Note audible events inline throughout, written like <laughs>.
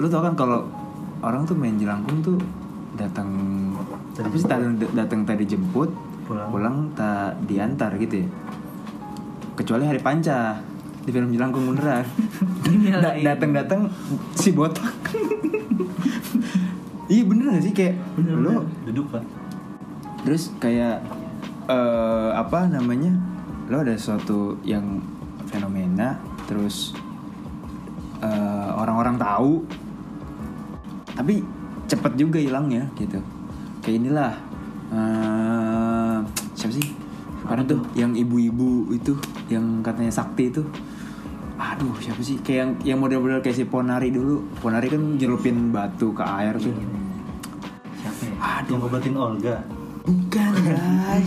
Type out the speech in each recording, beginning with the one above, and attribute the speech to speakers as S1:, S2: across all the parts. S1: lu tau kan kalau orang tuh main jelangkung tuh datang
S2: Tadi
S1: apa sih datang datang tadi jemput
S2: Pulang.
S1: pulang tak diantar gitu ya kecuali hari panca di film jelangkung
S2: <laughs>
S1: beneran Da-
S2: Dinyalain.
S1: datang datang si botak <laughs> iya bener gak sih kayak
S2: Bener,
S1: lu
S2: bener. duduk kan
S1: terus kayak eh, apa namanya lo ada sesuatu yang fenomena terus eh, orang-orang tahu tapi cepet juga hilangnya gitu kayak inilah eh, siapa sih karena tuh yang ibu-ibu itu yang katanya sakti itu aduh siapa sih kayak yang yang model-model kayak si ponari dulu ponari kan jerupin batu ke air tuh
S2: siapa ya
S1: Aduh.
S2: yang ngobatin Olga
S1: Bukan, Bray.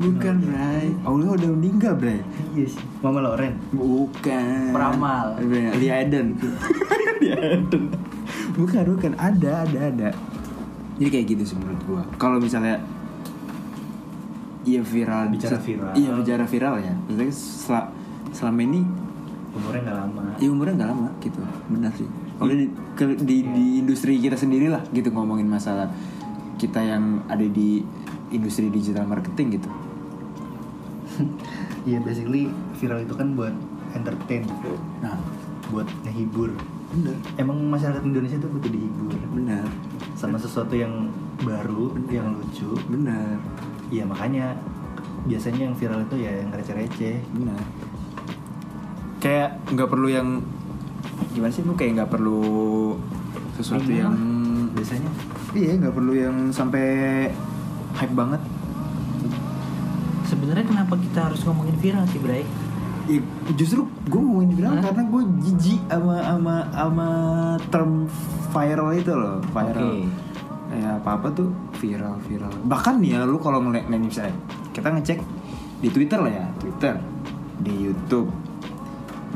S1: Bukan, Bray. Allah udah meninggal, Bray.
S2: iya sih Mama Loren
S1: Bukan.
S2: Peramal.
S1: Bray, Di <laughs> Eden. Di Eden. Bukan, bukan. Ada, ada, ada. Jadi kayak gitu sih menurut gua. Kalau misalnya Iya viral
S2: Bicara viral.
S1: Iya bicara viral ya Maksudnya sel- selama ini
S2: umurnya nggak lama
S1: Ya umurnya nggak lama gitu Benar sih Kalau di, ke- di, di industri kita sendiri lah gitu Ngomongin masalah Kita yang ada di industri digital marketing gitu
S2: <laughs> iya basically viral itu kan buat entertain
S1: Nah,
S2: buat ngehibur
S1: benar,
S2: emang masyarakat Indonesia tuh butuh dihibur
S1: benar,
S2: sama sesuatu yang baru yang lucu
S1: benar,
S2: Iya makanya biasanya yang viral itu ya yang receh-receh.
S1: benar. Kayak nggak perlu yang gimana sih lu kayak nggak perlu sesuatu
S2: Minimal
S1: yang
S2: Iya. Biasanya
S1: iya nggak perlu yang sampai hype banget.
S3: Sebenarnya kenapa kita harus ngomongin viral sih, Bray?
S1: Ya, justru gue mau bilang
S3: Hah?
S1: karena gue jijik sama sama sama term viral itu loh viral.
S3: Oke.
S1: Kayak apa apa tuh viral viral. Bahkan nih ya lu kalau ngeliat nih misalnya kita ngecek di Twitter lah ya Twitter di YouTube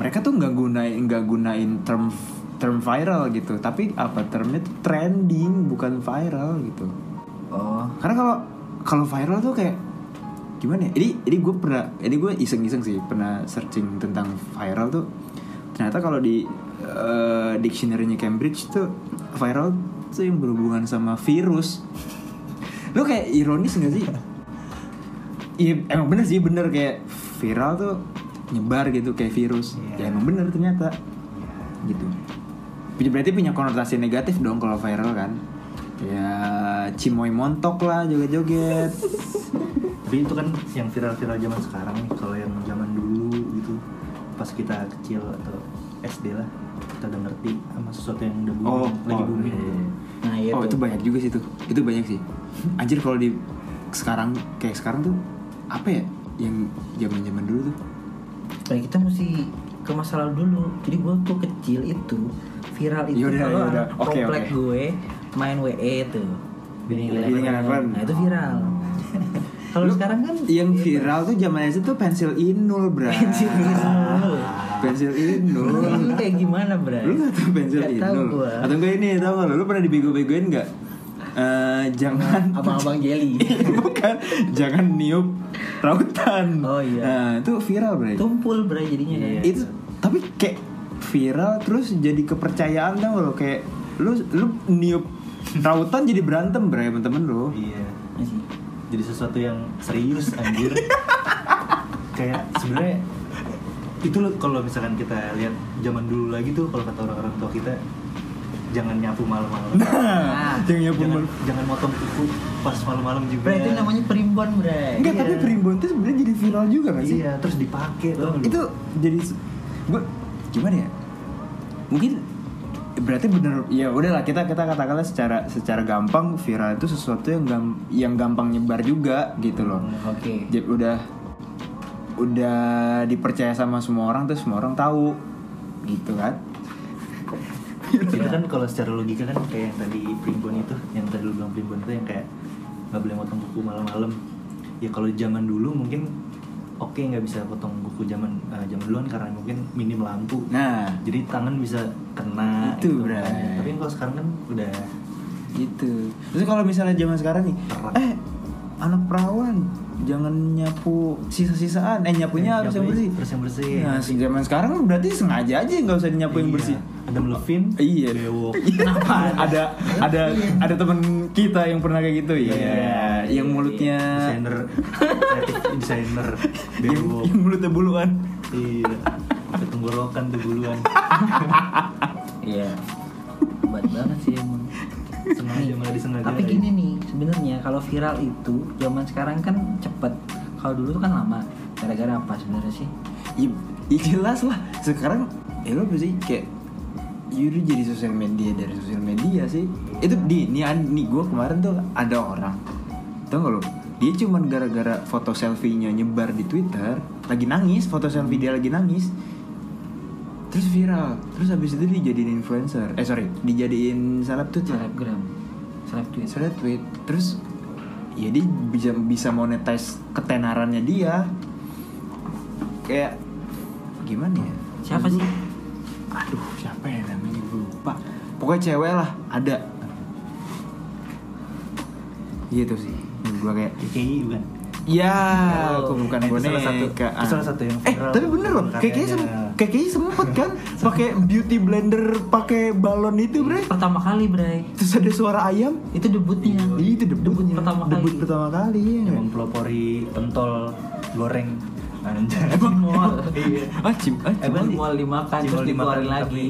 S1: mereka tuh nggak gunain nggak gunain term term viral gitu tapi apa termnya tuh trending bukan viral gitu
S2: oh
S1: karena kalau kalau viral tuh kayak gimana ya? Ini ini gue pernah ini gue iseng-iseng sih pernah searching tentang viral tuh ternyata kalau di eh, dictionary-nya Cambridge tuh viral tuh yang berhubungan sama virus. Lu kayak ironis gak sih? Iya emang bener sih bener kayak viral tuh nyebar gitu kayak virus. Ya
S2: Iya.
S1: emang bener ternyata gitu. Berarti punya konotasi negatif dong kalau viral kan? Ya cimoy montok lah
S3: <laughs>
S1: joget-joget.
S2: tapi itu kan yang viral-viral zaman sekarang nih. Kalau yang zaman dulu gitu pas kita kecil atau SD lah kita udah ngerti sama sesuatu yang udah booming, lagi booming.
S1: iya,
S2: gitu.
S1: iya.
S3: Nah, Oh, iya
S1: oh
S3: tuh.
S1: itu banyak juga sih tuh. Itu banyak sih. Anjir kalau di sekarang kayak sekarang tuh apa ya yang zaman-zaman dulu tuh?
S3: Nah, kita mesti ke masa lalu dulu. Jadi gue tuh kecil itu viral itu
S1: Yaudah,
S3: kalau
S1: yaudah.
S3: anak
S1: Oke,
S3: komplek
S1: oke.
S3: gue main WE tuh.
S2: Winning
S3: Winning
S1: Winning Eleven.
S3: Nah, itu
S1: <laughs>
S3: viral. kalau
S1: Lu-
S3: sekarang kan
S1: yang viral tuh zaman itu tuh pensil inul, Bra.
S3: Pensil inul.
S1: pensil inul.
S3: <laughs> Lu kayak gimana, Bray?
S1: Lu gak tau pensil
S3: Nggak tahu
S1: inul?
S3: gua.
S1: Atau enggak ini tau gak lu? Lu pernah dibego-begoin gak? Eh, jangan
S3: Sama Abang
S1: <laughs>
S3: Jelly.
S1: Iya. bukan jangan niup rautan
S3: Oh, iya.
S1: nah itu viral bro
S3: Tumpul, Bray, jadinya kan.
S1: itu tapi kayak viral terus jadi kepercayaan tau gak lo kayak lu lu niup rautan jadi berantem bro temen-temen lo
S2: Iya.
S3: Masih.
S2: Jadi sesuatu yang serius
S1: <laughs>
S2: anjir. Kayak sebenarnya itu loh kalau misalkan kita lihat zaman dulu lagi tuh kalau kata orang-orang tua kita jangan nyapu malam-malam.
S1: nah, yang <laughs> nyapu
S2: jangan,
S1: malam.
S2: jangan motong kuku pas malam-malam juga.
S3: Bray, itu namanya primbon, Bray.
S1: enggak
S3: Iya.
S1: Iya. tapi primbon tuh sebenarnya jadi viral juga gak sih
S2: Iya, terus dipakai tuh.
S1: itu jadi gue gimana ya mungkin berarti bener ya udahlah kita kita katakanlah secara secara gampang viral itu sesuatu yang gam, yang gampang nyebar juga gitu loh
S3: Oke.
S1: jadi udah udah dipercaya sama semua orang terus semua orang tahu gitu kan
S2: itu kan kalau secara logika kan kayak yang tadi primbon itu, yang tadi lu bilang primbon itu yang kayak nggak boleh motong kuku malam-malam. Ya kalau zaman dulu mungkin oke nggak bisa potong kuku zaman eh, zaman duluan karena mungkin minim lampu.
S1: nah
S2: jadi tangan bisa kena
S1: Itu,
S2: gitu,
S1: Bray.
S2: makanya. tapi kalau sekarang kan udah
S1: gitu terus kalau misalnya zaman sekarang nih eh anak perawan jangan nyapu sisa-sisaan eh nyapunya harus yang bersih
S2: Nyapuin, harus yang bersih.
S1: nah se- zaman sekarang berarti sengaja aja nggak usah dinyapuin
S2: Iya.
S1: bersih
S2: Adam Levine
S1: <laughs> Iya.
S2: Bewok kenapa
S1: ada ada ada teman kita yang pernah kayak gitu ya
S2: Iya.
S1: yang mulutnya
S2: desainer kreatif desainer
S1: <laughs> yang,
S2: Bewok
S1: yang mulutnya buluan
S2: iya sampai tenggorokan tuh buluan
S3: Iya. Hebat banget sih emang.
S2: sengaja malah disengaja
S3: Tapi gini nih, sebenarnya kalau viral itu zaman sekarang kan cepet. Kalau dulu tuh kan lama. Gara-gara apa sebenarnya sih?
S1: ya, ya jelas lah sekarang ya lo pasti kayak Yuri jadi sosial media dari sosial media sih itu di nih an- nih gue kemarin tuh ada orang tau gak lo dia cuman gara-gara foto selfie-nya nyebar di Twitter lagi nangis foto selfie dia lagi nangis terus viral terus habis itu dijadiin influencer eh sorry dijadiin seleb tweet lah
S3: Selebgram. Seleb tweet.
S1: seleb tweet terus ya dia bisa bisa monetize ketenarannya dia kayak gimana ya
S3: Siapa sih?
S1: aduh siapa ya namanya gue lupa pokoknya cewek lah ada gitu sih gue kayak
S2: KKI bukan
S1: ya
S2: Oh,
S1: aku bukan
S2: itu
S1: boneka
S2: salah satu- itu salah satu yang
S1: eh
S2: viral
S1: tapi bener loh
S2: karyanya.
S1: kayaknya sem kayaknya sempet
S2: <laughs>
S1: kan pakai beauty blender pakai balon itu bre
S3: Pertama kali, Bray.
S1: terus ada suara ayam
S3: Itu debutnya.
S1: Iya, itu debut,
S3: Debut pertama kali.
S1: Debut pertama kali. ya
S2: yang
S1: nggak?
S2: mempelopori pentol goreng anjay <laughs>
S3: Emang mual.
S2: iya
S1: Ah, cim, ah, cim-
S3: Emang mual dimakan
S2: Cimol
S3: terus
S2: dimakan,
S3: dikeluarin lagi.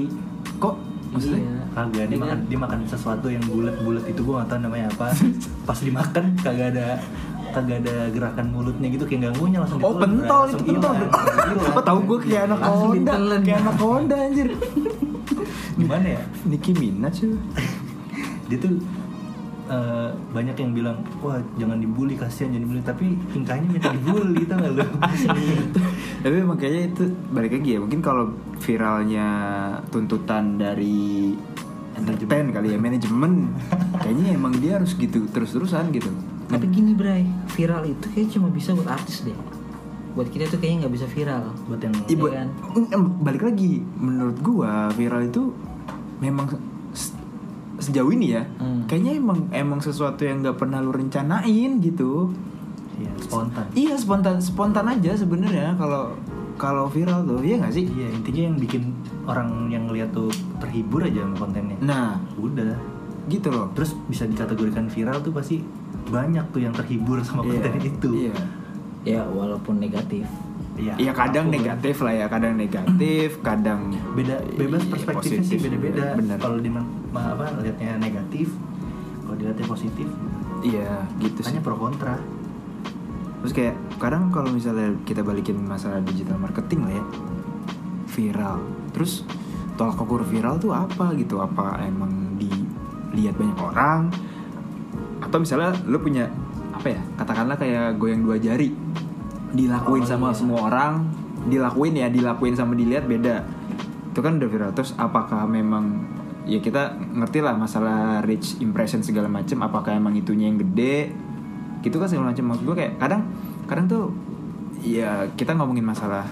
S1: kok maksudnya?
S3: Iya.
S2: kagak dia
S3: Iya.
S2: makan dia makan sesuatu yang bulat-bulat itu gua nggak tahu namanya apa pas dimakan kagak ada kagak ada gerakan mulutnya gitu kayak ganggunya langsung
S1: Oh,
S2: ditelan,
S1: pentol
S2: langsung Iya.
S1: itu pentol.
S2: hilang,
S1: <laughs>
S2: langsung
S1: Apa tahu gue
S2: hilang.
S1: kayak anak
S3: Langsung
S1: Honda,
S3: ditelan.
S1: kayak anak Honda anjir.
S2: gimana ya
S1: Nicki Minaj ya. <laughs> tuh.
S2: dia tuh eh, banyak yang bilang wah jangan dibully kasihan jangan dibully tapi tingkahnya minta dibully tau
S1: <laughs>
S2: gak lu
S1: Tapi makanya itu balik lagi ya. Mungkin kalau viralnya tuntutan dari entertain kali ya manajemen kayaknya emang dia harus gitu terus-terusan gitu.
S3: Tapi gini, Bray. Viral itu kayak cuma bisa buat artis deh. Buat kita tuh kayaknya nggak bisa viral.
S2: buat yang
S1: Ibu,
S3: Iya kan?
S1: balik lagi menurut gua viral itu memang se- sejauh ini ya
S3: Hmm.
S1: kayaknya emang emang sesuatu yang nggak pernah lu rencanain gitu
S2: iya, spontan
S1: iya spontan spontan aja sebenarnya kalau kalau viral tuh iya nggak sih
S2: iya intinya yang bikin orang yang ngeliat tuh terhibur aja sama kontennya
S1: nah
S2: udah
S1: gitu loh
S2: terus bisa dikategorikan viral tuh pasti banyak tuh yang terhibur sama
S1: Iya,
S2: konten itu
S1: iya
S3: Ya, walaupun negatif.
S2: Iya,
S1: Iya, kadang
S2: apapun.
S1: negatif lah ya kadang negatif kadang
S2: beda bebas
S1: Iya,
S2: perspektifnya sih
S1: positif,
S2: beda-beda
S1: bener
S2: kalau di man- ma- apa lihatnya negatif kalau dilihatnya positif
S1: iya gitu sih
S2: hanya pro kontra
S1: Terus kayak kadang kalau misalnya kita balikin masalah digital marketing lah ya viral. Terus tolak ukur viral tuh apa gitu? Apa emang dilihat banyak orang? Atau misalnya lu punya apa ya? Katakanlah kayak goyang dua jari dilakuin
S3: Oh,
S1: sama
S3: iya.
S1: semua orang, dilakuin ya, dilakuin sama dilihat beda. Itu kan udah viral. Terus apakah memang ya kita ngerti lah masalah reach impression segala macem apakah emang itunya yang gede gitu kan segala macam maksud gue kayak kadang kadang tuh ya kita ngomongin masalah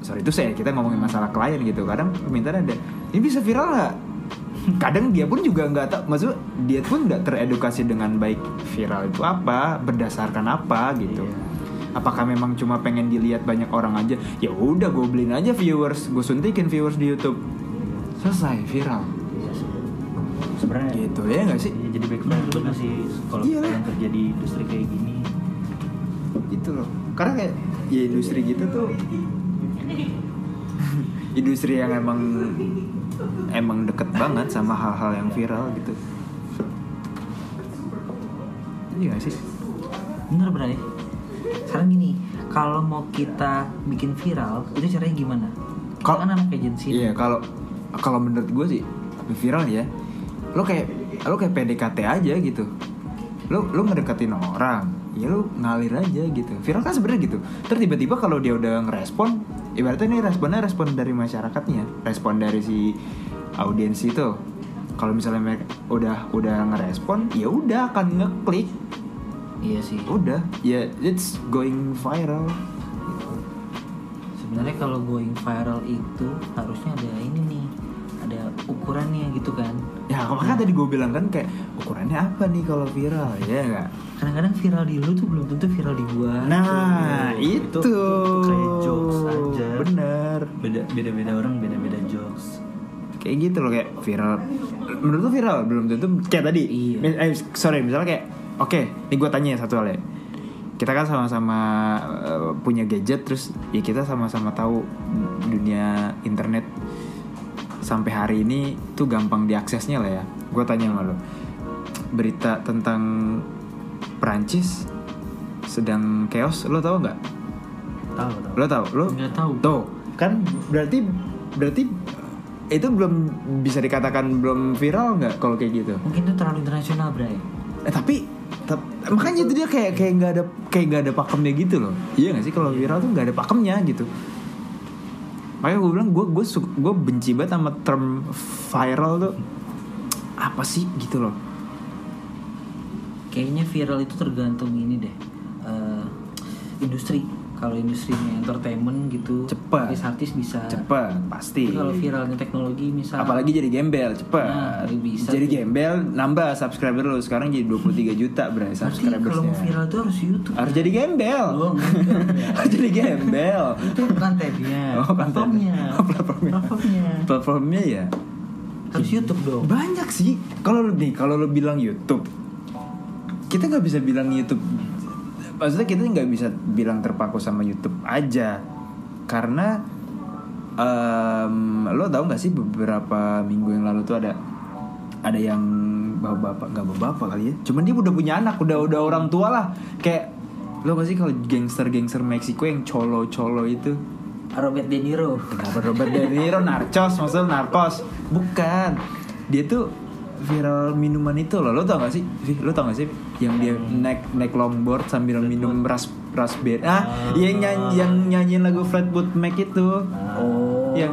S1: sorry itu saya kita ngomongin masalah klien gitu kadang permintaan ada ini bisa viral nggak <laughs> kadang dia pun juga nggak tahu maksud dia pun nggak teredukasi dengan baik viral itu apa berdasarkan apa gitu
S2: Iya.
S1: apakah memang cuma pengen dilihat banyak orang aja ya udah gue beliin aja viewers gue suntikin viewers di YouTube selesai viral
S2: Iya sih. sebenarnya
S1: gitu ya nggak sih
S2: Iya, jadi background itu masih kalau
S1: Iya
S2: kita
S1: lah.
S2: yang kerja di industri kayak gini
S1: gitu loh karena kayak ya industri gitu tuh industri yang emang emang deket banget sama hal-hal yang viral gitu iya gak sih
S3: Bener Bray Sekarang gini Kalau mau kita bikin viral Itu caranya gimana?
S1: Kalau-
S3: Kalau kan anak agensi
S1: iya kalau kalau menurut gue sih viral ya lo kayak lo kayak PDKT aja gitu lo lo ngedekatin orang ya lo ngalir aja gitu viral kan sebenarnya gitu terus tiba-tiba kalau dia udah ngerespon ibaratnya ini responnya respon dari masyarakatnya respon dari si audiens itu kalau misalnya mereka udah udah ngerespon ya udah akan ngeklik
S3: Iya sih
S1: udah ya it's going viral gitu.
S3: Sebenarnya kalau going viral itu Harusnya ada ini nih Ada ukurannya gitu kan
S1: Ya makanya tadi gue bilang kan kayak ukurannya apa nih kalau viral ya nggak?
S3: Kadang-kadang viral di lu tuh belum tentu viral di gua gitu.
S1: Nah
S2: itu-
S1: itu,
S2: itu kayak jokes aja.
S1: bener.
S2: beda beda beda orang beda beda jokes
S1: kayak gitu loh kayak viral menurut lu viral belum tentu kayak tadi
S3: Iya.
S1: Mis- eh, sorry misalnya kayak oke ini gue tanya ya satu hal ya kita kan sama-sama eh, punya gadget terus ya kita sama-sama tahu dunia internet sampai hari ini tuh gampang diaksesnya lah ya gue tanya sama lo berita tentang Perancis sedang chaos lo tau nggak
S2: tahu tahu
S1: lo tau lo
S3: Nggak tahu.
S1: Tuh, kan berarti berarti eh, itu belum bisa dikatakan belum viral nggak kalau kayak gitu
S3: Mungkin itu terlalu internasional, Bray.
S1: eh, tapi tep- makanya itu dia kayak kayak nggak ada kayak nggak ada pakemnya gitu loh iya nggak sih kalau viral tuh nggak ada pakemnya gitu makanya gue bilang gue gue gue benci banget sama term viral tuh apa sih gitu loh
S3: Kayaknya viral itu tergantung ini deh. eh, industri. Kalau industrinya entertainment gitu,
S1: Cepat.
S3: Artis-artis bisa
S1: cepet pasti
S3: Tapi kalau viralnya teknologi misal
S1: apalagi jadi gembel cepet
S3: Nah, itu bisa
S1: jadi
S3: tuh.
S1: gembel nambah subscriber lo sekarang jadi 23 juta bray
S3: Berarti kalau mau
S1: subscribersnya
S3: viral itu harus YouTube.
S1: harus jadi gembel
S3: Oh,
S1: <laughs>
S3: enggak, Bray.
S1: harus jadi gembel
S3: itu kan kontennya,
S1: <laughs> Oh, konten.
S3: Iya, platformnya,
S1: Oh, platformnya.
S3: platformnya.
S1: platformnya ya
S3: Harus YouTube dong.
S1: banyak sih kalau lu nih kalau lu bilang YouTube kita nggak bisa bilang YouTube maksudnya kita nggak bisa bilang terpaku sama YouTube aja karena em, lo tau nggak sih beberapa minggu yang lalu tuh ada ada yang bapak-bapak nggak bapak kali ya cuman dia udah punya anak udah udah orang tua lah kayak lo nggak sih kalau gangster-gangster Meksiko yang colo-colo itu
S3: Robert De Niro.
S1: Kenapa Robert De Niro narcos maksud narkos? Bukan. Dia tuh viral minuman itu loh. Lo tau gak sih? Vi, Lo tau gak sih yang dia naik naik longboard sambil minum ras raspberry. Ah,
S2: Ah.
S1: yang nyanyi yang nyanyiin lagu Flatwood Mac itu. Ya.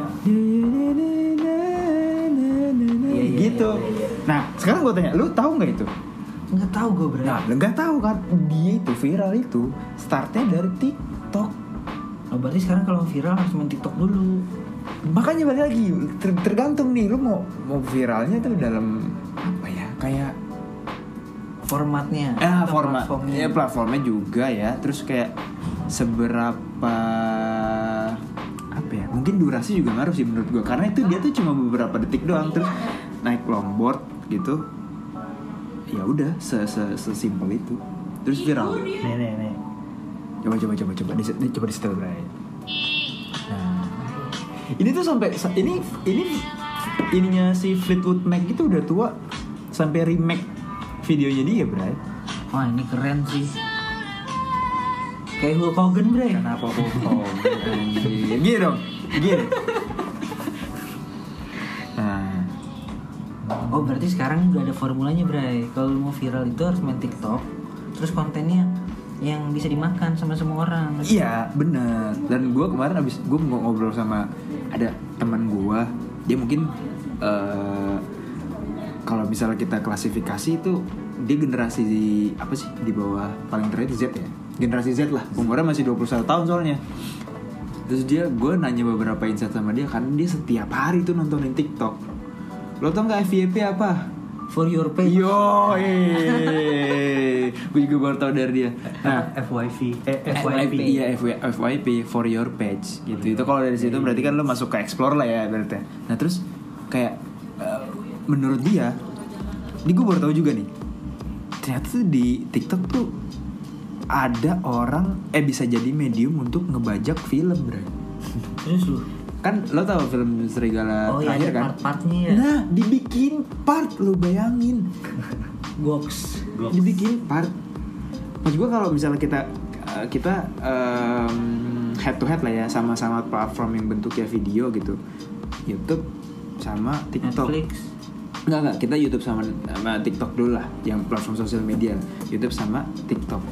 S1: iya, Yang
S3: Oh. Iya, iya,
S1: gitu.
S3: iya, iya.
S1: Nah, sekarang gue tanya, lu tahu nggak itu?
S3: Enggak tahu gue Bray.
S1: Nah, lu nggak tahu kan? Dia itu viral itu startnya dari TikTok.
S3: Oh, berarti sekarang kalau viral harus main TikTok dulu.
S1: makanya balik lagi ter- tergantung nih lu mau mau viralnya tuh dalam apa ya kayak
S3: Formatnya.
S1: eh
S3: atau
S1: format
S3: platformnya.
S1: ya platformnya juga ya terus kayak seberapa apa ya mungkin durasi juga ngaruh sih menurut gua karena itu dia tuh cuma beberapa detik doang terus naik longboard gitu ya udah se se- sesimpel itu terus viral
S2: nih nih nih
S1: coba coba coba coba di, di- coba di setel Bray. Nah, ini tuh sampai sa- ini ini ininya si Fleetwood Mac itu udah tua sampai remake videonya dia Bray.
S3: Wah, ini keren sih. Kayak Hulk Hogan Bray.
S1: Kenapa bohong? anjing? Gini dong, gini. Nah,
S3: Oh berarti sekarang udah ada formulanya Bray Kalau lu mau viral itu harus main TikTok Terus kontennya yang bisa dimakan sama semua orang
S1: iya bener. Dan gue kemarin abis gue ngobrol sama ada teman gue, dia mungkin eh, kalau misalnya kita klasifikasi itu dia generasi di- apa sih di bawah paling terakhir Z ya generasi Z lah umurnya masih 21 tahun soalnya terus dia gue nanya beberapa insight sama dia karena dia setiap hari tuh nontonin TikTok lo tau nggak FYP apa
S3: For your
S1: Iya.
S3: pay
S1: yo gue juga baru tau dari dia nah
S2: FYV eh,
S1: FYP
S2: FYP
S1: iya FY- FYP for your page gitu itu kalau dari situ berarti kan lo masuk ke explore lah ya berarti nah terus kayak eh, menurut dia ini gue baru tahu juga nih ternyata tuh di TikTok tuh ada orang eh bisa jadi medium untuk ngebajak film bro
S3: Terus lu
S1: kan lo tahu film Serigala
S3: Oh iya
S1: terakhir
S3: ada
S1: kan
S3: part-partnya ya
S1: nah dibikin part lo bayangin
S3: Goks
S2: Goks.
S1: dibikin part maksud gue kalau misalnya kita uh, kita um, head to head lah ya sama-sama platform yang bentuknya video gitu YouTube sama TikTok
S3: Netflix
S1: Enggak, enggak. Kita YouTube sama, sama TikTok dulu lah. Yang platform sosial media. YouTube sama TikTok.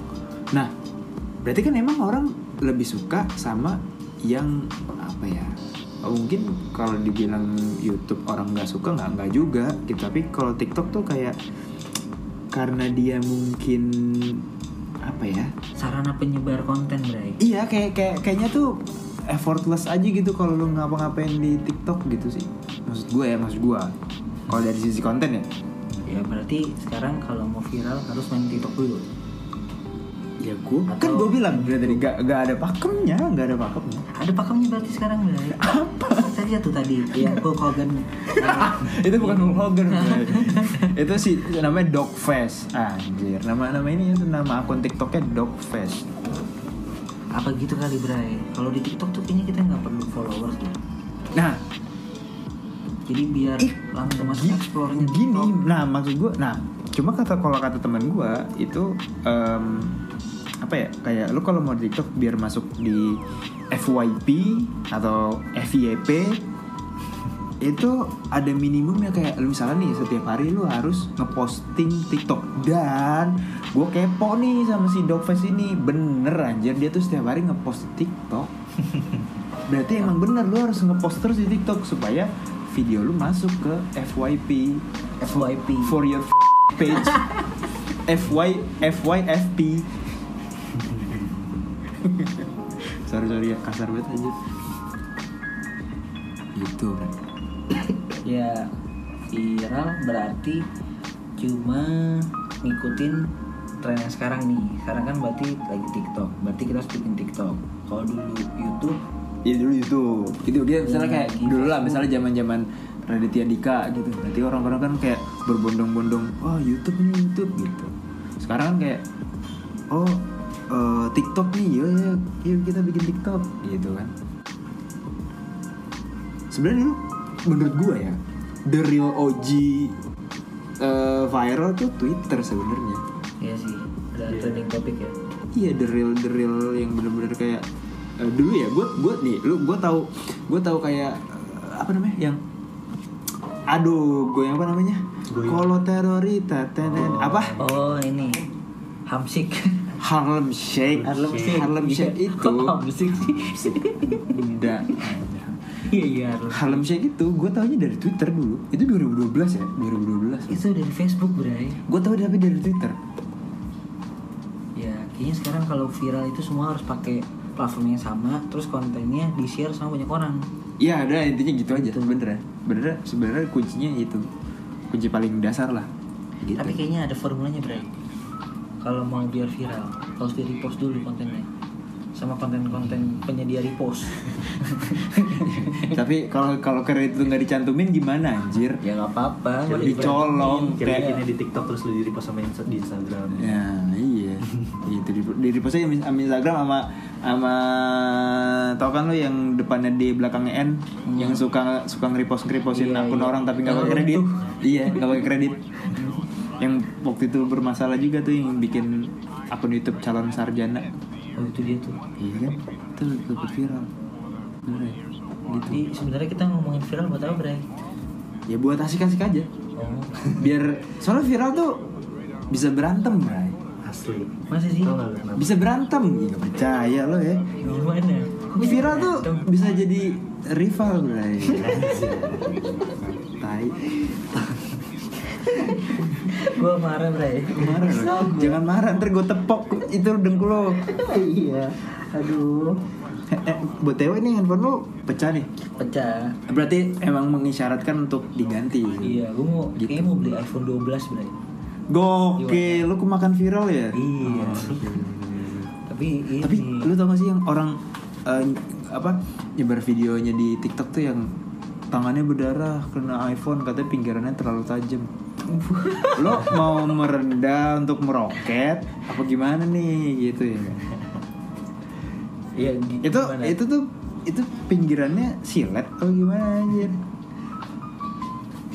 S1: Nah, berarti kan emang orang lebih suka sama yang apa ya? Mungkin kalau dibilang YouTube orang nggak suka nggak nggak juga. Gitu. Tapi kalau TikTok tuh kayak karena dia mungkin apa ya?
S3: Sarana penyebar konten Bray
S1: Iya, kayak kayak kayaknya tuh effortless aja gitu kalau lu ngapa-ngapain di TikTok gitu sih. Maksud gue ya, maksud gue. Kalau dari sisi konten ya.
S3: Ya berarti sekarang kalau mau viral harus main TikTok dulu
S1: ya gue kan
S3: Atau-
S1: gue bilang dia tadi gak, gak ada pakemnya gak ada pakemnya
S3: Ada pakemnya berarti sekarang Bray. Apa? Tadi tuh tadi
S1: <laughs>
S3: ya Hulk Hogan.
S1: <laughs> itu bukan Hulk Hogan Bray. Nah, <laughs> itu sih namanya Dogface anjir nama nama ini itu nama akun TikToknya Dogface
S3: <laughs> Apa gitu kali Bray? Kalau di TikTok tuh kayaknya kita nggak perlu followers deh.
S1: nah
S3: Jadi biar
S1: Ih,
S3: langsung masuk Oh.
S1: Gi-
S3: explore-nya
S1: gini
S3: TikTok.
S1: nah maksud gue nah cuma kata kalau kata teman gue itu em, apa ya kayak lu kalau mau di TikTok biar masuk di FYP atau FYP itu ada minimumnya kayak lu misalnya nih setiap hari lu harus ngeposting TikTok dan gue kepo nih sama si Dogface ini bener anjir dia tuh setiap hari ngepost di TikTok berarti emang bener lu harus ngepost terus di TikTok supaya video lu masuk ke FYP
S3: FYP.
S1: for your page FY FYFP sorry sorry ya kasar banget aja itu
S3: Ya viral berarti cuma ngikutin tren yang sekarang nih. Sekarang kan berarti lagi TikTok. Berarti kita harus bikin TikTok. Kalau dulu YouTube
S1: ya dulu itu itu dia misalnya
S3: Iya,
S1: kayak
S3: gitu.
S1: dulu lah misalnya zaman zaman Raditya Dika gitu berarti orang-orang kan kayak berbondong-bondong wah YouTube nih YouTube gitu sekarang kan kayak oh eh, TikTok nih yo yo yuk kita bikin TikTok gitu kan sebenarnya dulu, menurut gua ya the real OG eh, viral tuh Twitter sebenarnya
S3: ya sih ada trending topic ya.
S1: Iya the real the real yang bener-bener kayak eh, dulu ya gue gue nih lu gue tahu gue tahu kayak eh, apa namanya yang aduh gue yang apa namanya
S2: Goyang.
S1: kalau terorita tenen apa
S3: Oh ini Hamsik.
S1: Harlem Shake
S3: Harlem Shake.
S1: Harlem Shake
S3: Iya.
S1: itu
S3: <laughs> Kok Hamsik sih.
S1: udah
S3: Iya iya harus.
S1: Harlem Shake itu gue taunya dari Twitter dulu itu 2012 ya 2012
S3: Itu dari Facebook Bray.
S1: gue tahu tapi dari Twitter
S3: Ya kayaknya sekarang kalau viral itu semua harus pakai platform yang sama, terus kontennya di share sama banyak orang.
S1: Iya ada intinya gitu aja bener ya bener ya, sebenarnya kuncinya itu kunci paling dasar lah gitu.
S3: Tapi kayaknya ada formulanya Bray. Kalau mau biar viral, harus di repost dulu kontennya sama konten-konten penyedia
S1: <laughs>
S3: repost.
S1: Tapi kalau kalau kredit itu nggak dicantumin gimana anjir?
S3: ya nggak apa-apa. nggak
S1: Dicolong
S2: Kayak bikinnya
S1: kayak
S2: di TikTok terus lu di repost sama Insta- di Instagram.
S1: Ya iya Itu di, di repost aja sama Instagram sama sama tau kan lo yang depannya D belakangnya N yang suka suka ngeripos ngeripos
S3: Iya,
S1: akun
S3: iya.
S1: orang tapi nggak
S3: Yang
S1: pakai kredit
S3: runtuh.
S1: iya nggak pakai kredit yang waktu itu bermasalah juga tuh yang bikin akun YouTube calon sarjana
S3: dipakai. Oh itu dia tuh.
S1: iya kan itu lebih viral Bener ya? gitu
S3: Jadi sebenarnya kita ngomongin viral buat apa Bray?
S1: ya buat asik-asik aja
S3: Oh.
S1: biar soalnya viral tuh bisa berantem Bray.
S2: Asli.
S3: Masa sih?
S2: Tau nggak lu kenapa?
S1: bisa berantem Ih, nggak percaya lo ya
S3: Gimana?
S1: viral tuh bisa jadi rival Bray. <laughs> tai
S3: Gua marah Bray
S1: marah lo jangan marah ntar gue tepok itu dengkul lo
S3: Iya Aduh
S1: Eh, eh, btw nih handphone lo pecah nih
S3: Pecah
S1: berarti emang mengisyaratkan untuk diganti
S3: Iya gua mau
S1: Gitu.
S3: Kayaknya mau beli iPhone 12 Bray
S1: Gokil, lu kemakan viral ya?
S3: Iya
S1: iya.
S3: Tapi ini
S1: Tapi lu tau gak sih yang orang eh, apa nyebar videonya di TikTok tuh yang tangannya berdarah kena iPhone katanya pinggirannya terlalu tajam. lo mau merendah untuk meroket apa gimana nih gitu ya?
S3: Iya gi-
S1: Itu
S3: gimana?
S1: itu tuh itu pinggirannya silet apa gimana anjir?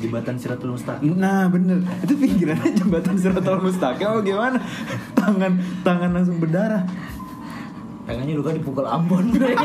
S2: Jembatan Siratul Mustaqim.
S1: Nah bener Itu pinggirannya jembatan Siratul Mustaqim apa gimana? Tangan tangan langsung berdarah
S3: <laughs> Tangannya luka dipukul kan Ambon Bray